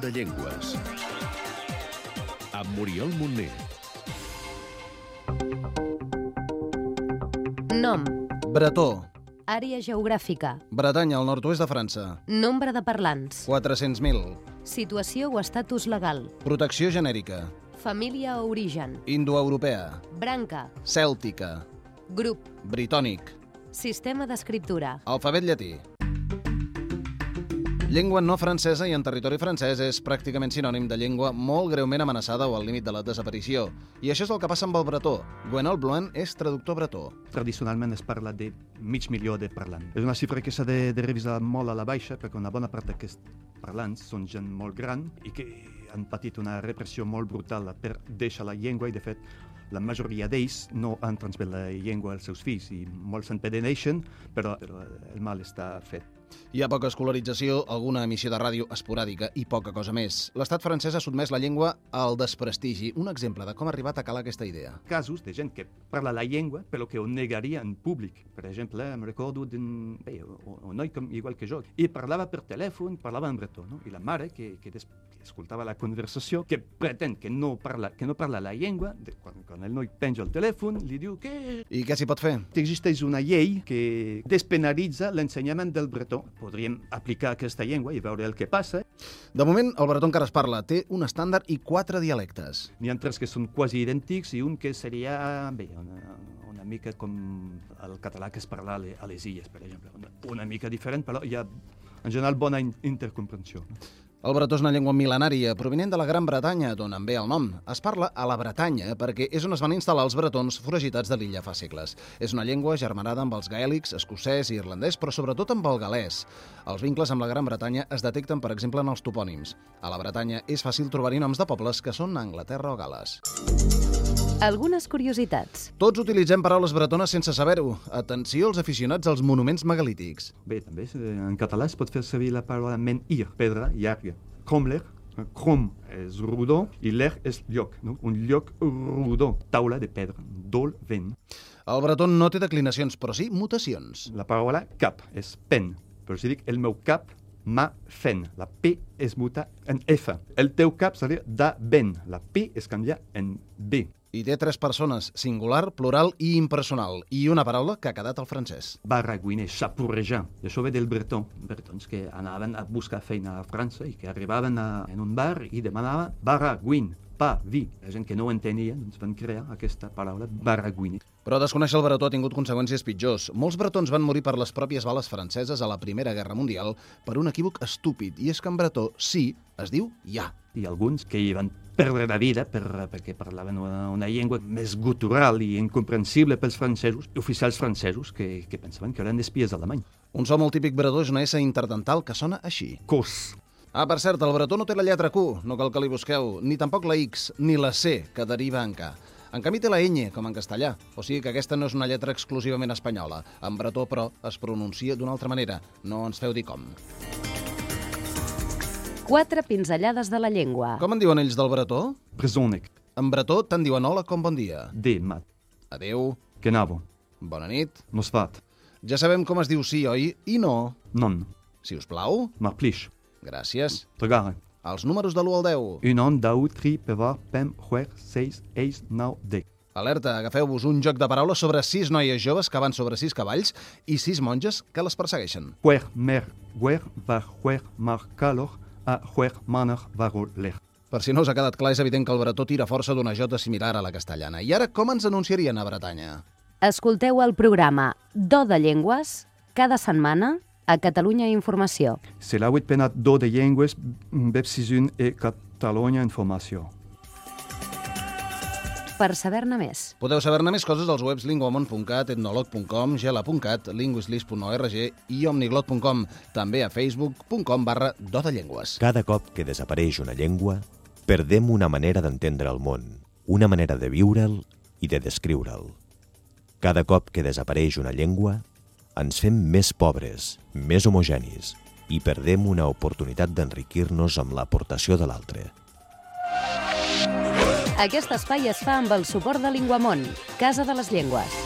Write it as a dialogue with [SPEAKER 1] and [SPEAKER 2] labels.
[SPEAKER 1] de Llengües. Amb Muriel Montner.
[SPEAKER 2] Nom,
[SPEAKER 3] Bretó,
[SPEAKER 2] àrea geogràfica,
[SPEAKER 3] Bretanya, al nord-oest de França.
[SPEAKER 2] nombre de parlants,
[SPEAKER 3] 400.000.
[SPEAKER 2] situació o estatus legal,
[SPEAKER 3] Protecció genèrica.
[SPEAKER 2] família o origen,
[SPEAKER 3] Indoeuropea.
[SPEAKER 2] branca,
[SPEAKER 3] Cèltica.
[SPEAKER 2] grup,
[SPEAKER 3] Britònic.
[SPEAKER 2] sistema d'escriptura,
[SPEAKER 3] Alfabet llatí. Llengua no francesa i en territori francès és pràcticament sinònim de llengua molt greument amenaçada o al límit de la desaparició. I això és el que passa amb el bretó. Gwenol Blouin és traductor bretó.
[SPEAKER 4] Tradicionalment es parla de mig milió de parlants. És una xifra que s'ha de, de revisar molt a la baixa perquè una bona part d'aquests parlants són gent molt gran i que han patit una repressió molt brutal per deixar la llengua i, de fet, la majoria d'ells no han transmès la llengua als seus fills i molts s'empedeneixen, però, però el mal està fet.
[SPEAKER 3] Hi ha poca escolarització, alguna emissió de ràdio esporàdica i poca cosa més. L'estat francès ha sotmès la llengua al desprestigi. Un exemple de com ha arribat a calar aquesta idea.
[SPEAKER 4] casos de gent que parla la llengua però que ho negaria en públic. Per exemple, em recordo d'un bé, un un noi com, igual que jo, i parlava per telèfon, parlava en bretó, no? i la mare, que, que, des, que escoltava la conversació, que pretén que no parla, que no parla la llengua, de, quan, quan el noi penja el telèfon, li diu que
[SPEAKER 3] I què s'hi pot fer?
[SPEAKER 4] existeix una llei que despenalitza l'ensenyament del bretó. Podríem aplicar aquesta llengua i veure el que passa.
[SPEAKER 3] De moment, el bretó encara es parla. Té un estàndard i quatre dialectes.
[SPEAKER 4] N'hi ha tres que són quasi idèntics i un que seria bé, una, una mica com el català que es parla a le- a les illes, per exemple. Una, una mica diferent, però hi ha en general bona in intercomprensió.
[SPEAKER 3] El bretó és una llengua mil·lenària, provinent de la Gran Bretanya, d'on en ve el nom. Es parla a la Bretanya perquè és on es van instal·lar els bretons foragitats de l'illa fa segles. És una llengua germanada amb els gaèlics, escocès i irlandès, però sobretot amb el galès. Els vincles amb la Gran Bretanya es detecten, per exemple, en els topònims. A la Bretanya és fàcil trobar-hi noms de pobles que són a Anglaterra o Gales.
[SPEAKER 2] algunes curiositats.
[SPEAKER 3] Tots utilitzem paraules bretones sense saber-ho. Atenció als aficionats als monuments megalítics.
[SPEAKER 4] Bé, també eh, en català es pot fer servir la paraula menhir, pedra llarga. Com l'er, crom és rodó i l'er és lloc, no? un lloc rodó, taula de pedra, dol, vent.
[SPEAKER 3] El bretó no té declinacions, però sí mutacions.
[SPEAKER 4] La paraula cap és pen. Però si dic el meu cap, ma fen. La P es muta en F. El teu cap seria da ben. La P es canvia en B.
[SPEAKER 3] I té tres persones, singular, plural i impersonal, i una paraula que ha quedat al francès.
[SPEAKER 4] Baragüiner, xapurrejar. I això ve del bretó. Bretons que anaven a buscar feina a França i que arribaven a, en un bar i demanava baragüin, pa, vi. La gent que no ho entenia doncs van crear aquesta paraula baragüiner.
[SPEAKER 3] Però desconèixer el bretó ha tingut conseqüències pitjors. Molts bretons van morir per les pròpies bales franceses a la Primera Guerra Mundial per un equívoc estúpid, i és que en bretó sí es diu ja.
[SPEAKER 4] i alguns que hi van perdre la vida per, perquè parlaven una, una llengua més gutural i incomprensible pels francesos, oficials francesos que, que pensaven que eren espies alemanys.
[SPEAKER 3] Un so molt típic bretó és una S interdental que sona així.
[SPEAKER 4] Cos.
[SPEAKER 3] Ah, per cert, el bretó no té la lletra Q, no cal que li busqueu, ni tampoc la X, ni la C, que deriva en K. En canvi té la ñ, com en castellà, o sigui que aquesta no és una lletra exclusivament espanyola. En bretó, però, es pronuncia d'una altra manera. No ens feu dir com.
[SPEAKER 2] Quatre pinzellades de la llengua.
[SPEAKER 3] Com en diuen ells del bretó?
[SPEAKER 4] Presonec.
[SPEAKER 3] En bretó tant diuen hola com bon dia.
[SPEAKER 4] De mat.
[SPEAKER 3] Adeu,
[SPEAKER 4] Kenavo.
[SPEAKER 3] bona nit.
[SPEAKER 4] Nosfat.
[SPEAKER 3] Ja sabem com es diu sí, oi? I no.
[SPEAKER 4] Non.
[SPEAKER 3] Si us plau,
[SPEAKER 4] Marplix.
[SPEAKER 3] gràcies.
[SPEAKER 4] Togare.
[SPEAKER 3] Els números de l'1 al 10.
[SPEAKER 4] Un on, dau, tri, pevar, pem, huer, seis, eis, nau, dec.
[SPEAKER 3] Alerta, agafeu-vos un joc de paraules sobre sis noies joves que van sobre sis cavalls i sis monges que les persegueixen.
[SPEAKER 4] Huer, mer, huer, var, huer, mar, calor, a, huer, maner, varol, ler.
[SPEAKER 3] Per si no us ha quedat clar, és evident que el bretó tira força d'una jota similar a la castellana. I ara, com ens anunciarien a Bretanya?
[SPEAKER 2] Escolteu el programa Do de Llengües cada setmana a Catalunya Informació.
[SPEAKER 4] C'est la huit penat do de llengües, bep sisun e Catalunya informació.
[SPEAKER 2] Per saber-ne més,
[SPEAKER 3] Podeu saber-ne més coses als webs linguamont.cat, etnolog.com, gela.cat, linguislis.org i omniglot.com, també a facebook.com barra do de llengües.
[SPEAKER 5] Cada cop que desapareix una llengua, perdem una manera d'entendre el món, una manera de viure'l i de descriure'l. Cada cop que desapareix una llengua, ens fem més pobres, més homogenis i perdem una oportunitat d'enriquir-nos amb l'aportació de l'altre.
[SPEAKER 2] aquest espai es fa amb el suport de Linguamont, Casa de les Llengües.